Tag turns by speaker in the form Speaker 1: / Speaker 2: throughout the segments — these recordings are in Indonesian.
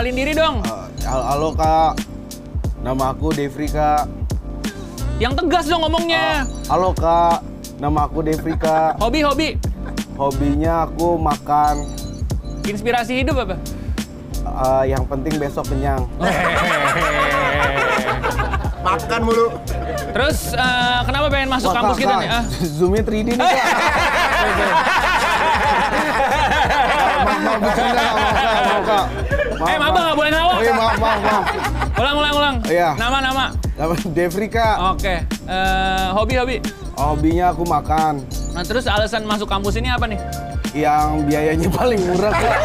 Speaker 1: Eh, diri dong.
Speaker 2: Eh, halo, halo kak, nama aku Devri kak.
Speaker 1: Yang tegas dong
Speaker 2: Eh,
Speaker 1: ngomongnya.
Speaker 2: halo kak, nama aku Devri kak.
Speaker 1: Hobi-hobi.
Speaker 2: Hobinya aku makan.
Speaker 1: Inspirasi hidup apa?
Speaker 2: Eh, yang penting besok kenyang.
Speaker 3: Makan mulu.
Speaker 1: Terus eh, kenapa pengen masuk
Speaker 2: Wah,
Speaker 1: kampus
Speaker 2: Kak,
Speaker 1: kita
Speaker 2: Kak,
Speaker 1: nih? Ah,
Speaker 2: Zoomnya 3D nih kak. Maaf, maaf, bercanda kak, maaf kak, maaf kak.
Speaker 1: Eh, Maba nggak boleh ngelawak.
Speaker 2: Oh iya, maaf, maaf, maaf.
Speaker 1: Ulang, ulang, ulang.
Speaker 2: Iya.
Speaker 1: Nama, nama.
Speaker 2: Nama Devri kak,
Speaker 1: Oke. Eh, hobi-hobi.
Speaker 2: hobinya aku makan.
Speaker 1: Nah, terus alasan masuk kampus ini apa nih?
Speaker 2: yang biayanya paling murah kak.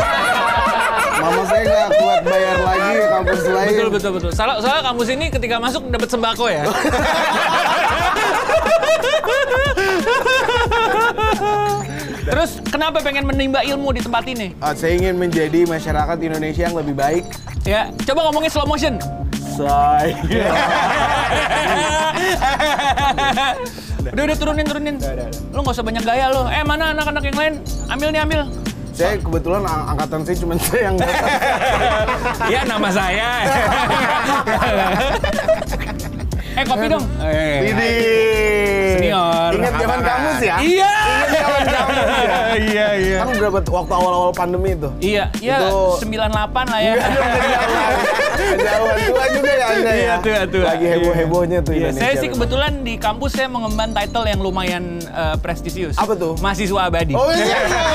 Speaker 2: Mama saya nggak kuat bayar lagi ke kampus lain.
Speaker 1: Betul, betul, betul. Salah, soalnya kampus ini ketika masuk dapat sembako ya. Terus kenapa pengen menimba ilmu di tempat ini?
Speaker 2: Ah, saya ingin menjadi masyarakat Indonesia yang lebih baik.
Speaker 1: Ya, coba ngomongin slow motion.
Speaker 2: Saya
Speaker 1: udah, udah turunin, turunin. Lu nggak usah banyak gaya lu. Eh, mana anak-anak yang lain? Ambil nih, ambil.
Speaker 2: saya kebetulan ang- angkatan saya cuma saya yang
Speaker 1: Iya, nama saya. eh, kopi dong.
Speaker 2: ini
Speaker 1: Senior.
Speaker 2: Ingat zaman kamu sih ya?
Speaker 1: Iya.
Speaker 3: Iya iya.
Speaker 2: Kan ya? berapa waktu awal-awal pandemi itu?
Speaker 1: Iya, iya
Speaker 2: Itu-
Speaker 1: 98 lah ya.
Speaker 2: Kejauhan tua juga ya Anda ya?
Speaker 1: Iya, tua, tua.
Speaker 2: Lagi heboh-hebohnya tuh Indonesia.
Speaker 1: Saya sih kebetulan di kampus saya mengemban title yang lumayan eh, prestisius.
Speaker 2: Apa tuh?
Speaker 1: Mahasiswa abadi.
Speaker 2: Oh iya, iya.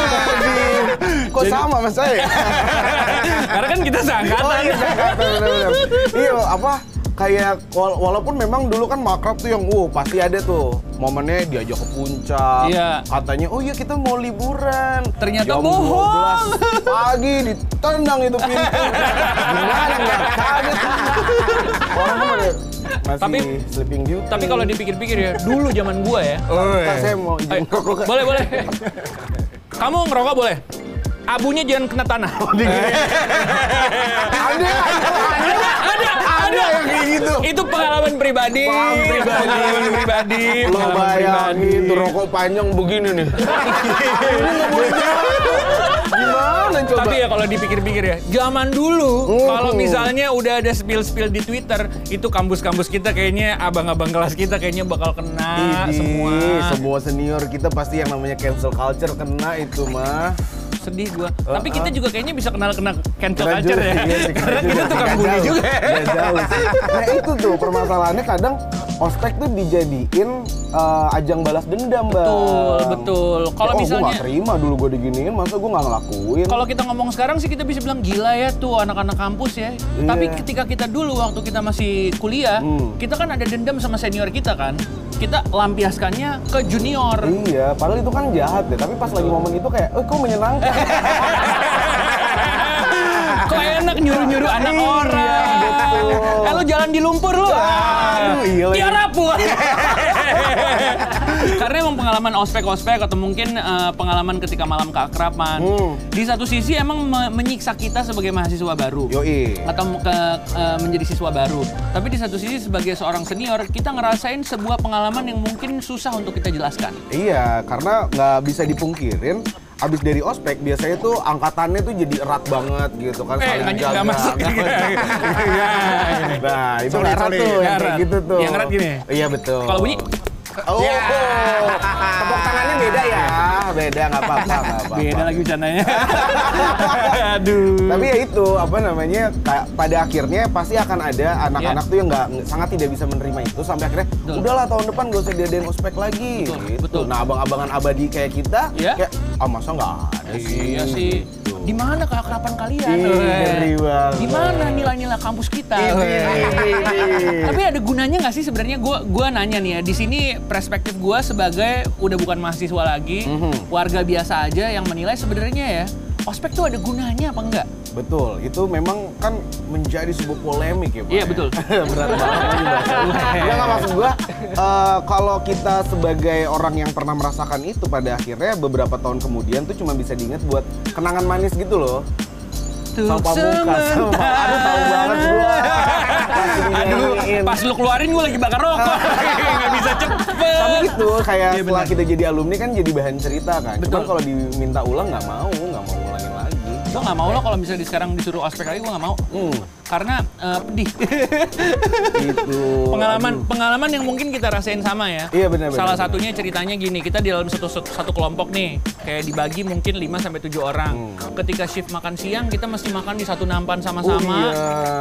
Speaker 2: Di- Kok sama sama saya?
Speaker 1: Karena kan kita
Speaker 2: Oh
Speaker 1: seangkatan.
Speaker 2: iya, Jakarta, benar-benar. Iya, apa kayak wala- walaupun memang dulu kan makrab tuh yang uh pasti ada tuh momennya diajak ke puncak
Speaker 1: Iya.
Speaker 2: katanya oh iya kita mau liburan
Speaker 1: Ternyata
Speaker 2: Jam
Speaker 1: bohong.
Speaker 2: 12 pagi ditendang itu pintu gimana nggak kaget orang kan pada masih
Speaker 1: Tapi-
Speaker 2: sleeping beauty
Speaker 1: Tapi kalau dipikir-pikir ya, dulu zaman gua ya.
Speaker 2: Kak, saya
Speaker 1: Ayo,
Speaker 2: mau izin ngerokok Kak.
Speaker 1: boleh, boleh. Kamu ngerokok boleh. Abunya jangan kena tanah.
Speaker 2: ada ada
Speaker 1: ada,
Speaker 2: ada yang kayak gitu
Speaker 1: Itu pengalaman pribadi.
Speaker 2: Pengalaman pribadi.
Speaker 1: Pengalaman pribadi.
Speaker 2: Lo
Speaker 1: pengalaman
Speaker 2: bayangin tuh rokok panjang begini nih. Ini nggak boleh jalan. Gimana coba?
Speaker 1: Tapi ya kalau dipikir-pikir ya, zaman dulu
Speaker 2: Hmm.
Speaker 1: kalau misalnya udah ada spill-spill di Twitter, itu kampus-kampus kita kayaknya abang-abang kelas kita kayaknya bakal kena
Speaker 2: Idi,
Speaker 1: semua.
Speaker 2: semua senior kita pasti yang namanya cancel culture kena itu mah.
Speaker 1: Sedih gua. Tapi kita juga kayaknya bisa kenal-kenal cancel
Speaker 2: Kena
Speaker 1: culture
Speaker 2: Oh, juga,
Speaker 1: ya.
Speaker 2: iya sih, kena
Speaker 1: Karena kita
Speaker 2: juga.
Speaker 1: tukang
Speaker 2: Nggak
Speaker 1: bully
Speaker 2: jauh,
Speaker 1: juga. ya.
Speaker 2: nggak jauh sih. Nah itu tuh permasalahannya kadang ospek tuh dijadiin eh, ajang balas dendam, Bang.
Speaker 1: Betul, betul. Kalau
Speaker 2: Ya, oh, gua
Speaker 1: misalnya-
Speaker 2: nggak terima dulu gue diginiin, masa gue nggak ngelakuin.
Speaker 1: Kalau kita ngomong sekarang sih kita bisa bilang gila ya tuh anak-anak kampus ya. Tapi ketika kita dulu waktu kita masih kuliah,
Speaker 2: Iya. Hmm.
Speaker 1: kita kan ada dendam sama senior kita kan. Kita lampiaskannya ke junior.
Speaker 2: Iya, padahal itu kan jahat ya. Tapi pas lagi momen itu kayak, eh kok menyenangkan.
Speaker 1: Kok enak nyuruh-nyuruh anak
Speaker 2: Iya,
Speaker 1: orang.
Speaker 2: betul.
Speaker 1: Eh lu jalan di lumpur lu.
Speaker 2: Aduh, iya lagi.
Speaker 1: Tiarap lu. Karena emang pengalaman ospek-ospek atau mungkin eh, pengalaman ketika malam keakraban.
Speaker 2: Hmm.
Speaker 1: Di satu sisi emang me- menyiksa kita sebagai mahasiswa baru.
Speaker 2: Yoi.
Speaker 1: Atau mau ke, eh, menjadi siswa baru. Tapi di satu sisi sebagai seorang senior, kita ngerasain sebuah pengalaman yang mungkin susah untuk kita jelaskan.
Speaker 2: Iya, karena nggak bisa dipungkirin. Abis dari ospek biasanya tuh angkatannya tuh jadi erat banget gitu kan
Speaker 1: Eh,
Speaker 2: saling
Speaker 1: anjing, nggak
Speaker 2: jaga. Iya,
Speaker 1: masuk.
Speaker 2: nah, itu
Speaker 3: Sorry,
Speaker 2: erat
Speaker 3: sorry.
Speaker 2: tuh yang
Speaker 1: Erat.
Speaker 2: kayak gitu tuh.
Speaker 1: Yang erat gini?
Speaker 2: Iya betul.
Speaker 1: Kalau bunyi, ya.
Speaker 2: Oh, tepuk tangannya beda ya? Beda nggak apa-apa, nggak apa-apa.
Speaker 1: beda lagi bercandanya. Aduh.
Speaker 2: Tapi ya itu apa namanya kayak pada akhirnya pasti akan ada anak-anak tuh yang nggak nggak- sangat tidak bisa menerima itu sampai akhirnya
Speaker 1: Iya. Betul.
Speaker 2: udahlah tahun depan gak usah diadain ospek lagi.
Speaker 1: Betul,
Speaker 2: gitu.
Speaker 1: betul.
Speaker 2: Nah abang-abangan abadi kayak kita
Speaker 1: Iya.
Speaker 2: kayak ah masa nggak ada sih.
Speaker 1: Iya sih. Di mana keakraban kalian?
Speaker 2: Ih, ngeri banget.
Speaker 1: Di mana nilai-nilai kampus kita? Tapi ada gunanya nggak sih sebenarnya gue gua nanya nih ya di sini perspektif gue sebagai udah bukan mahasiswa lagi
Speaker 2: Mhm.
Speaker 1: warga biasa aja yang menilai sebenarnya ya ospek tuh ada gunanya apa enggak?
Speaker 2: Betul, itu memang kan menjadi sebuah polemik ya Pak.
Speaker 1: Iya,
Speaker 2: ya?
Speaker 1: betul.
Speaker 2: Berat banget ini bahasanya. Enggak, enggak, maksud gua eh, kalau kita sebagai orang yang pernah merasakan itu pada akhirnya beberapa tahun kemudian tuh cuma bisa diingat buat kenangan manis gitu loh.
Speaker 1: Tuh
Speaker 2: Sama Pamungkas. Sama- Aduh, tahu banget gua. Iya,
Speaker 1: Aduh, pas lu keluarin gue lagi bakar rokok, nggak bisa cepet.
Speaker 2: Tapi itu kayak
Speaker 1: Iya,
Speaker 2: setelah
Speaker 1: benar.
Speaker 2: kita jadi alumni kan jadi bahan cerita kan. Cuman
Speaker 1: Betul.
Speaker 2: kalau diminta ulang nggak mau, nggak mau ulangin lagi. Hmm,
Speaker 1: Gue nggak mau lo kalau misalnya di sekarang disuruh ospek lagi gue nggak mau. Karena eh, pedih.
Speaker 2: Itu.
Speaker 1: pengalaman pengalaman yang mungkin kita rasain sama ya.
Speaker 2: Iya, benar, benar,
Speaker 1: Salah
Speaker 2: benar.
Speaker 1: satunya ceritanya gini, kita di dalam satu satu kelompok nih, kayak dibagi mungkin 5 sampai 7 orang.
Speaker 2: Hmm.
Speaker 1: Ketika shift makan siang kita mesti makan di satu nampan sama-sama.
Speaker 2: Oh,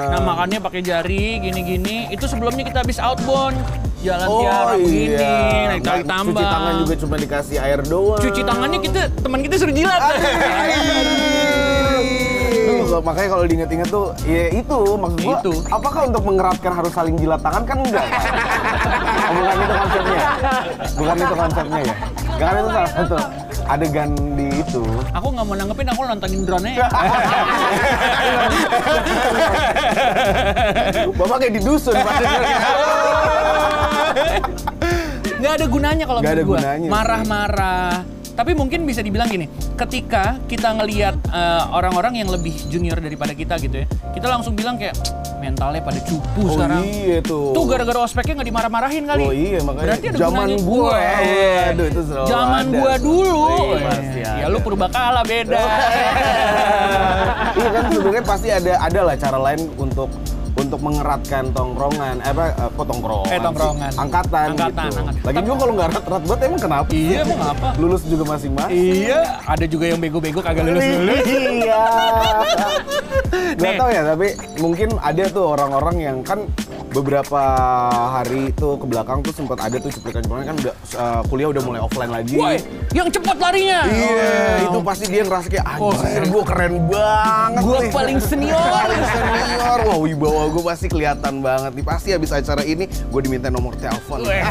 Speaker 2: iya.
Speaker 1: Nah, makannya pakai jari gini-gini. Itu sebelumnya kita habis outbound
Speaker 2: Oh
Speaker 1: jalan-jalan begini,
Speaker 2: iya.
Speaker 1: naik tarik
Speaker 2: Nggak,
Speaker 1: tambang.
Speaker 2: Cuci tangan juga cuma dikasih air doang.
Speaker 1: Cuci tangannya kita teman kita suruh jilat.
Speaker 2: iya. Tuh, kalau- makanya kalau diinget-inget tuh ya itu maksud gua
Speaker 1: Itu.
Speaker 2: apakah untuk mengeratkan harus saling jilat tangan kan enggak kan? Oh, bukan itu konsepnya bukan itu konsepnya ya karena itu salah satu adegan di itu
Speaker 1: aku nggak mau nanggepin, aku nontonin drone-nya.
Speaker 2: bapak kayak di dusun pasti
Speaker 1: nggak ada gunanya kalau
Speaker 2: Nggak ada
Speaker 1: menurut gua.
Speaker 2: gunanya sih.
Speaker 1: Marah-marah. Tapi mungkin bisa dibilang gini, ketika kita ngelihat eh, orang-orang yang lebih junior daripada kita gitu ya, kita langsung bilang kayak "Cuk, mentalnya pada cupu
Speaker 2: Oh,
Speaker 1: sekarang.
Speaker 2: iya tuh.
Speaker 1: Tuh gara-gara ospeknya nggak dimarah-marahin kali.
Speaker 2: Oh, iya, makanya
Speaker 1: Berarti ada
Speaker 2: zaman
Speaker 1: gunanya
Speaker 2: gua
Speaker 1: gua.
Speaker 2: ya. Iya, aduh, itu selalu
Speaker 1: Zaman
Speaker 2: ada.
Speaker 1: gua dulu.
Speaker 2: Iya, pasti
Speaker 1: ya,
Speaker 2: ada.
Speaker 1: lu purbakala beda.
Speaker 2: iya kan sebenarnya pasti ada ada lah cara lain untuk untuk mengeratkan tongkrongan eh, apa eh, kok tongkrongan
Speaker 1: Eh, tongkrongan.
Speaker 2: sih? angkatan
Speaker 1: Angkatan,
Speaker 2: gitu.
Speaker 1: angkatan.
Speaker 2: lagi juga kalau nggak erat-erat banget emang kenapa
Speaker 1: iya, emang apa?
Speaker 2: lulus juga masing-masing
Speaker 1: Iya, ada juga yang bego-bego kagak lulus-lulus.
Speaker 2: iya nggak
Speaker 1: Nih.
Speaker 2: tahu ya tapi mungkin ada tuh orang-orang yang kan beberapa hari tuh ke belakang tuh sempat ada tuh cuplikan-cuplikan kan udah, eh, kuliah udah mulai offline lagi
Speaker 1: Woi, yang cepat larinya. Oh,
Speaker 2: Iya, itu pasti dia ngerasa kayak anjir, gue keren banget.
Speaker 1: iya. Gua
Speaker 2: nih."
Speaker 1: paling senior.
Speaker 2: paling senior. Wah, wibawa gue pasti kelihatan banget nih. Pasti habis acara ini gue diminta nomor telepon.
Speaker 1: Weh.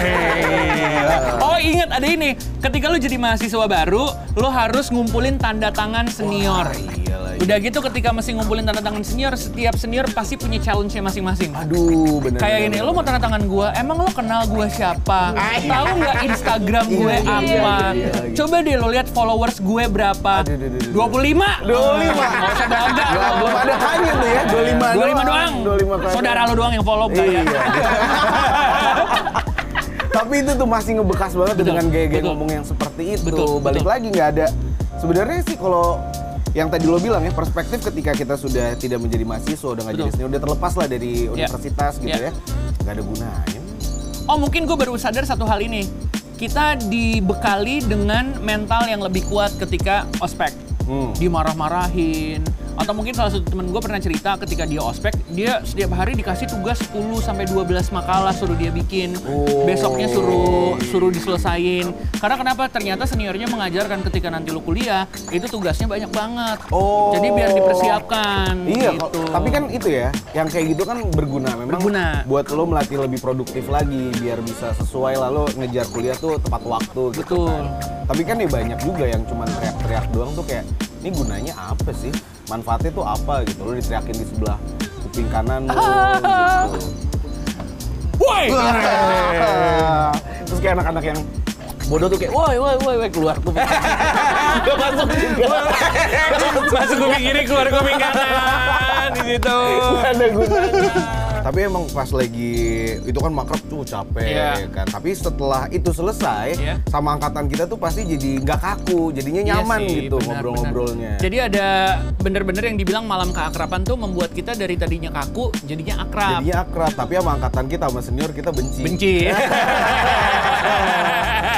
Speaker 1: Oh ingat ada ini, ketika lu jadi mahasiswa baru, lu harus ngumpulin tanda tangan senior.
Speaker 2: Wah, iyalah, iya.
Speaker 1: Udah gitu ketika mesti ngumpulin tanda tangan senior, setiap senior pasti punya challenge-nya masing-masing.
Speaker 2: Aduh, bener.
Speaker 1: Kayak
Speaker 2: bener,
Speaker 1: ini,
Speaker 2: bener.
Speaker 1: lu mau tanda tangan gua, emang lu kenal gua siapa? Tahu nggak Instagram gue
Speaker 2: Iya,
Speaker 1: apa?
Speaker 2: iya, iya, iya.
Speaker 1: Coba deh lu lihat followers gue berapa.
Speaker 2: Aduh, aduh, aduh, aduh.
Speaker 1: 25?
Speaker 2: 25.
Speaker 1: Nggak usah bangga.
Speaker 2: Nggak,
Speaker 1: lu.
Speaker 2: belum ada hanya tuh ya, 25
Speaker 1: 25 doang.
Speaker 2: 25 doang.
Speaker 1: Saudara lu doang yang follow ya.
Speaker 2: Iya.
Speaker 1: kayak.
Speaker 2: Tapi itu tuh masih ngebekas banget
Speaker 1: Betul,
Speaker 2: dengan gaya-gaya
Speaker 1: betul.
Speaker 2: ngomong yang seperti itu.
Speaker 1: Betul,
Speaker 2: Balik
Speaker 1: betul.
Speaker 2: lagi nggak ada. Sebenarnya sih kalau yang tadi lo bilang ya perspektif ketika kita sudah tidak menjadi mahasiswa udah
Speaker 1: Betul.
Speaker 2: nggak
Speaker 1: Iya.
Speaker 2: jadi senior udah terlepas lah dari universitas gitu
Speaker 1: Ya.
Speaker 2: ya nggak ada gunanya
Speaker 1: Oh mungkin gue baru sadar satu hal ini. Kita dibekali dengan mental yang lebih kuat ketika ospek.
Speaker 2: Hmm.
Speaker 1: Dimarah-marahin. Atau mungkin salah satu temen gue pernah cerita ketika dia ospek, dia setiap hari dikasih tugas 10 sampai 12 makalah suruh dia bikin.
Speaker 2: Oh.
Speaker 1: Besoknya suruh suruh diselesain. Karena kenapa? Ternyata seniornya mengajarkan ketika nanti lu kuliah, itu tugasnya banyak banget.
Speaker 2: Oh.
Speaker 1: Jadi biar dipersiapkan.
Speaker 2: Iya,
Speaker 1: gitu.
Speaker 2: kok- tapi kan itu ya, yang kayak gitu kan berguna memang.
Speaker 1: Berguna.
Speaker 2: Buat lo melatih lebih produktif lagi, biar bisa sesuai lalu ngejar kuliah tuh tepat waktu. Gitu
Speaker 1: Betul.
Speaker 2: kan. Tapi kan ya banyak juga yang cuma teriak-teriak doang tuh kayak, ini gunanya apa sih? Manfaatnya tuh apa gitu? Lo diteriakin di sebelah kuping kanan lo. gitu.
Speaker 1: Woi! Ah.
Speaker 2: Terus kayak anak-anak yang bodoh tuh kayak, woi, woi, woi, woi, keluar kuping. Gak masuk juga.
Speaker 1: Masuk kuping kiri, keluar kuping kanan di situ.
Speaker 2: Nggak ada gunanya. Tapi emang pas lagi itu kan makrab tuh capek
Speaker 1: Iya.
Speaker 2: kan. Tapi setelah itu selesai
Speaker 1: Iya.
Speaker 2: sama angkatan kita tuh pasti jadi nggak kaku, jadinya nyaman
Speaker 1: Iya sih,
Speaker 2: gitu
Speaker 1: benar,
Speaker 2: ngobrol-ngobrolnya.
Speaker 1: benar. Jadi ada bener-bener yang dibilang malam keakraban tuh membuat kita dari tadinya kaku jadinya akrab.
Speaker 2: Jadinya akrab, tapi sama angkatan kita sama senior kita benci.
Speaker 1: Benci.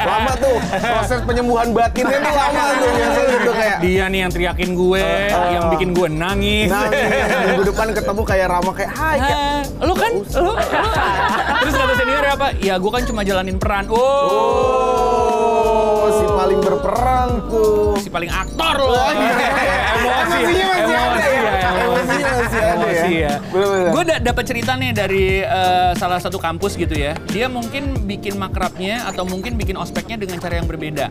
Speaker 2: lama tuh proses penyembuhan batinnya tuh lama tuh biasanya gitu kayak
Speaker 1: Dia nih yang teriakin gue,
Speaker 2: eh. Nah, iya.
Speaker 1: yang bikin gue nangis.
Speaker 2: nangis minggu depan ketemu kayak Rama kayak hai kayak,
Speaker 1: Eh, lu kan, lu, lu- terus kata senior apa? Ya gue kan cuma jalanin peran. Oh,
Speaker 2: oh si paling berperan tuh
Speaker 1: si paling aktor lo. emosi,
Speaker 2: Oh, iya.
Speaker 1: emosi, ya,
Speaker 2: Emosinya masih ada ya?
Speaker 1: emosi.
Speaker 2: Emosinya masih ada ya?
Speaker 1: emosi ya.
Speaker 2: Bener-bener.
Speaker 1: Gue da- dapat cerita nih dari eh, salah satu kampus gitu ya. Dia mungkin bikin makrabnya atau mungkin bikin ospeknya dengan cara yang berbeda.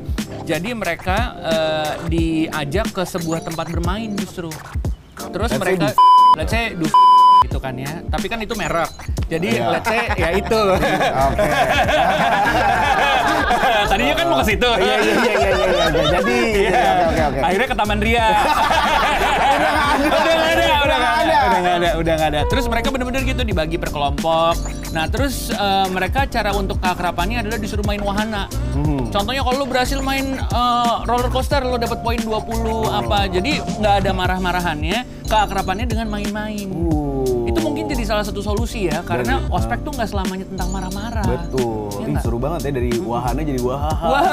Speaker 1: Jadi mereka eh, diajak ke sebuah tempat bermain justru. Terus
Speaker 2: Let's say
Speaker 1: mereka,
Speaker 2: du-
Speaker 1: let's say du gitu kan ya. Tapi kan itu merek. Jadi
Speaker 2: Iya. Oh.
Speaker 1: let's say ya itu.
Speaker 2: oke
Speaker 1: Tadinya kan mau ke situ.
Speaker 2: iya iya iya iya iya, iya jadi
Speaker 1: Iya.
Speaker 2: oke oke oke
Speaker 1: Akhirnya ke Taman Ria. udah nggak ada. Udah nggak ada. Udah nggak ada. Udah nggak
Speaker 2: Udah nggak ada.
Speaker 1: ada. Udah nggak ada. Terus mereka bener-bener gitu dibagi per kelompok. Nah terus eh, mereka cara untuk keakrabannya adalah disuruh main wahana. Contohnya kalau lu berhasil main eh, roller coaster lo dapat poin 20 apa. Jadi nggak ada marah-marahannya. Keakrabannya dengan main-main.
Speaker 2: Uh.
Speaker 1: Itu mungkin jadi salah satu solusi ya. Karena ospek tuh nggak selamanya tentang marah-marah.
Speaker 2: Betul.
Speaker 1: Iya
Speaker 2: Ih,
Speaker 1: nggak?
Speaker 2: seru banget ya dari wahana jadi wahaha.
Speaker 1: Wah.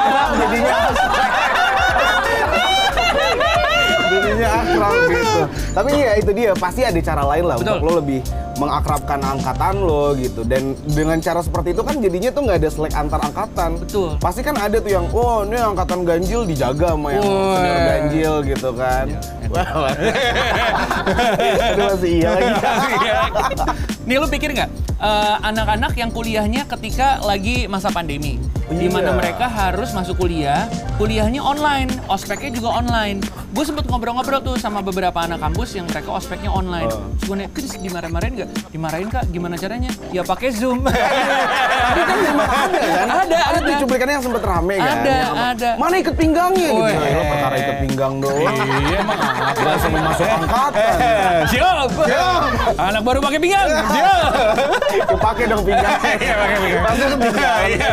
Speaker 2: Akrab jadinya jadinya akrab gitu. Tapi ya itu dia pasti ada cara lain lah
Speaker 1: Betul.
Speaker 2: untuk lo lebih mengakrabkan angkatan lo gitu. Dan dengan cara seperti itu kan jadinya tuh nggak ada selek antar angkatan.
Speaker 1: Betul.
Speaker 2: Pasti kan ada tuh yang oh ini angkatan ganjil dijaga sama yang
Speaker 1: Wah. Iya.
Speaker 2: saudara ganjil gitu kan. Wah, wah. Aduh, masih iya lagi.
Speaker 1: Nih lu pikir nggak eh, anak-anak yang kuliahnya ketika lagi masa pandemi, di mana
Speaker 2: Iya.
Speaker 1: mereka harus masuk kuliah, kuliahnya online, ospeknya juga online. Gue sempet ngobrol-ngobrol tuh sama beberapa anak kampus yang mereka ospeknya online.
Speaker 2: Oh.
Speaker 1: Terus gue nanya, "Kris, dimarah-marahin nggak? Dimarahin kak? Gimana caranya? Ya pakai zoom. Tapi kan memang ada
Speaker 2: kan?
Speaker 1: Ada,
Speaker 2: ada.
Speaker 1: ada.
Speaker 2: tuh cuplikannya yang sempet rame kan?
Speaker 1: Ada,
Speaker 2: Yang sama,
Speaker 1: ada.
Speaker 2: Mana ikat pinggangnya? Gitu.
Speaker 1: Weh.
Speaker 2: Nah, lo perkara ikat pinggang doang.
Speaker 1: Iya, emang apa
Speaker 2: Gak
Speaker 1: sih?
Speaker 2: sama masuk angkatan.
Speaker 1: Eh, Siap. Anak baru pakai pinggang. Siap.
Speaker 2: Ya pakai dong pinggangnya. Iya, pakai pinggang. Pasti pinggang.
Speaker 1: Iya.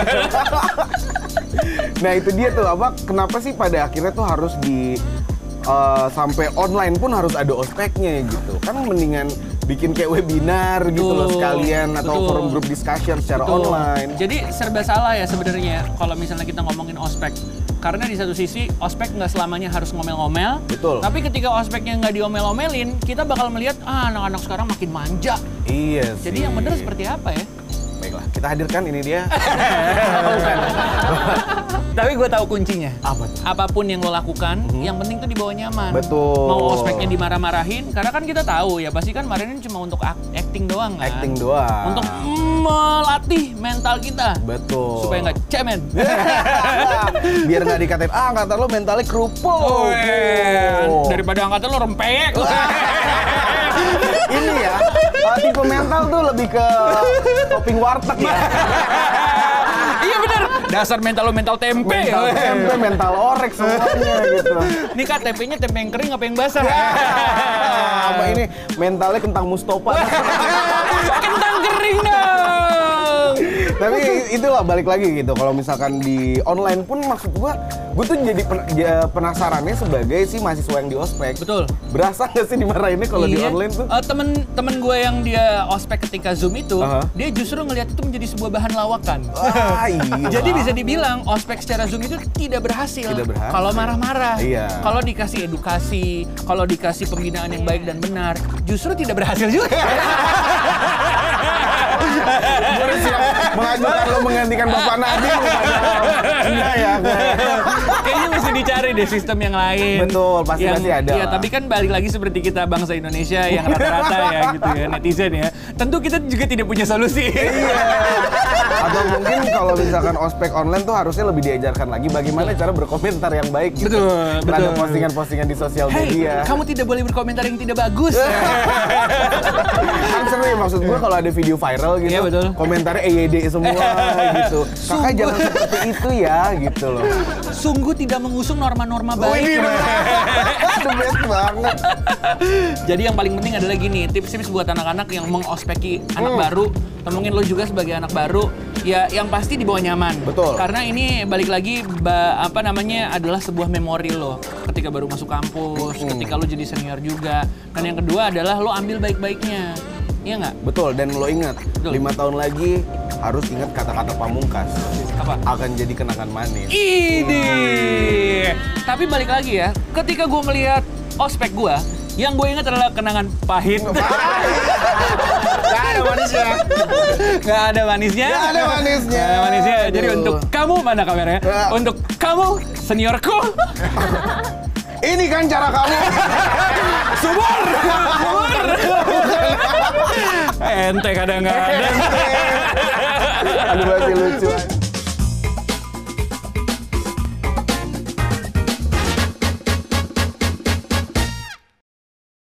Speaker 2: Nah, itu dia tuh apa kenapa sih pada akhirnya tuh harus di eh, sampai online pun harus ada ospeknya gitu. Kan mendingan bikin kayak webinar gitu loh
Speaker 1: Betul.
Speaker 2: sekalian atau
Speaker 1: Betul.
Speaker 2: forum group discussion secara
Speaker 1: Betul.
Speaker 2: online.
Speaker 1: Jadi serba salah ya sebenarnya kalau misalnya kita ngomongin ospek. Karena di satu sisi ospek nggak selamanya harus ngomel-ngomel.
Speaker 2: Betul.
Speaker 1: Tapi ketika ospeknya nggak diomel-omelin, kita bakal melihat ah anak-anak sekarang makin manja.
Speaker 2: Iya sih.
Speaker 1: Jadi yang benar seperti apa ya?
Speaker 2: Baiklah, kita hadirkan ini dia.
Speaker 1: Tapi gue tahu kuncinya.
Speaker 2: Apa tuh?
Speaker 1: Apapun yang lo lakukan, yang penting tuh dibawa nyaman.
Speaker 2: Mm-hmm. Betul.
Speaker 1: Mau ospeknya dimarah-marahin, karena kan kita tahu ya pasti kan kemarin cuma untuk ak- acting doang kan.
Speaker 2: Acting doang.
Speaker 1: Untuk melatih mental kita.
Speaker 2: Betul.
Speaker 1: Supaya nggak cemen.
Speaker 2: Biar nggak dikatain, ah angkatan lo mentalnya kerupuk.
Speaker 1: Oh,
Speaker 2: Oh.
Speaker 1: daripada angkatan lo rempeyek.
Speaker 2: Ini ya, uh, tipe mental tuh lebih ke topping warteg ya.
Speaker 1: iya bener. Dasar mental lo mental tempe.
Speaker 2: Mental tempe, mental orek semuanya gitu.
Speaker 1: Ini kak tempenya tempe yang kering apa yang basah?
Speaker 2: Ah, Apa ini mentalnya kentang Mustafa.
Speaker 1: Kentang kering dong.
Speaker 2: Tapi itulah balik lagi gitu. Kalau misalkan di online pun maksud gua, gua tuh jadi pen- ya, penasarannya sebagai si mahasiswa yang di ospek.
Speaker 1: Betul.
Speaker 2: Berasa nggak sih dimarahinnya kalau di
Speaker 1: Iya.
Speaker 2: online tuh?
Speaker 1: Eh, temen temen gue yang dia ospek ketika zoom itu,
Speaker 2: Aha.
Speaker 1: dia justru ngelihat itu menjadi sebuah bahan lawakan.
Speaker 2: Ah, iya.
Speaker 1: Jadi bisa dibilang ospek secara zoom itu tidak berhasil.
Speaker 2: Tidak berhasil.
Speaker 1: Kalau marah-marah,
Speaker 2: Iya.
Speaker 1: kalau dikasih edukasi, kalau dikasih pembinaan yang baik dan benar, justru tidak berhasil juga.
Speaker 2: Gue siap mengajukan lo menggantikan Bapak Nadiem. Enggak ya, enggak ya.
Speaker 1: Kayaknya mesti dicari deh sistem yang lain.
Speaker 2: Betul, pasti-
Speaker 1: Yang-
Speaker 2: pasti ada
Speaker 1: Iya,
Speaker 2: lah.
Speaker 1: tapi kan balik lagi seperti kita bangsa Indonesia yang rata-rata ya gitu ya, netizen ya. Tentu kita juga tidak punya solusi.
Speaker 2: Iya, Atau mungkin kalau misalkan ospek online tuh harusnya lebih diajarkan lagi bagaimana cara berkomentar yang baik gitu.
Speaker 1: Betul,
Speaker 2: Terhadap
Speaker 1: betul.
Speaker 2: postingan-postingan di sosial
Speaker 1: Hei,
Speaker 2: media.
Speaker 1: kamu tidak boleh berkomentar yang tidak bagus.
Speaker 2: kan seru ya maksud gue kalau ada video viral gitu
Speaker 1: Iya, betul.
Speaker 2: komentarnya EYD semua gitu kakak
Speaker 1: Sungguh.
Speaker 2: jangan seperti itu ya gitu loh
Speaker 1: Sungguh tidak mengusung norma-norma
Speaker 2: Oh,
Speaker 1: baik.
Speaker 2: iya. the best banget
Speaker 1: Jadi yang paling penting adalah gini, tips-tips buat anak-anak yang mengospeki anak baru, atau mungkin lo juga sebagai anak baru, ya yang pasti dibawa nyaman.
Speaker 2: Betul.
Speaker 1: Karena ini balik lagi ba- apa namanya adalah sebuah memori lo ketika baru masuk kampus, ketika lo jadi senior juga. Dan yang kedua adalah lo ambil baik-baiknya. Iya nggak?
Speaker 2: betul dan lo ingat
Speaker 1: Betul.
Speaker 2: lima tahun lagi harus ingat kata-kata pamungkas
Speaker 1: Apa?
Speaker 2: akan jadi kenangan manis
Speaker 1: Ini. Tapi balik lagi ya, ketika gue melihat ospek gue, yang gue ingat adalah kenangan pahit.
Speaker 2: Gak ada manisnya.
Speaker 1: Nggak ada manisnya.
Speaker 2: Nggak ada manisnya.
Speaker 1: Nggak ada manisnya. Jadi
Speaker 2: Aduh.
Speaker 1: untuk kamu mana kameranya?
Speaker 2: Ah.
Speaker 1: Untuk kamu seniorku,
Speaker 2: Ini kan cara kamu.
Speaker 1: subur, subur. Ente kadang-kadang.
Speaker 2: Aduh masih lucu.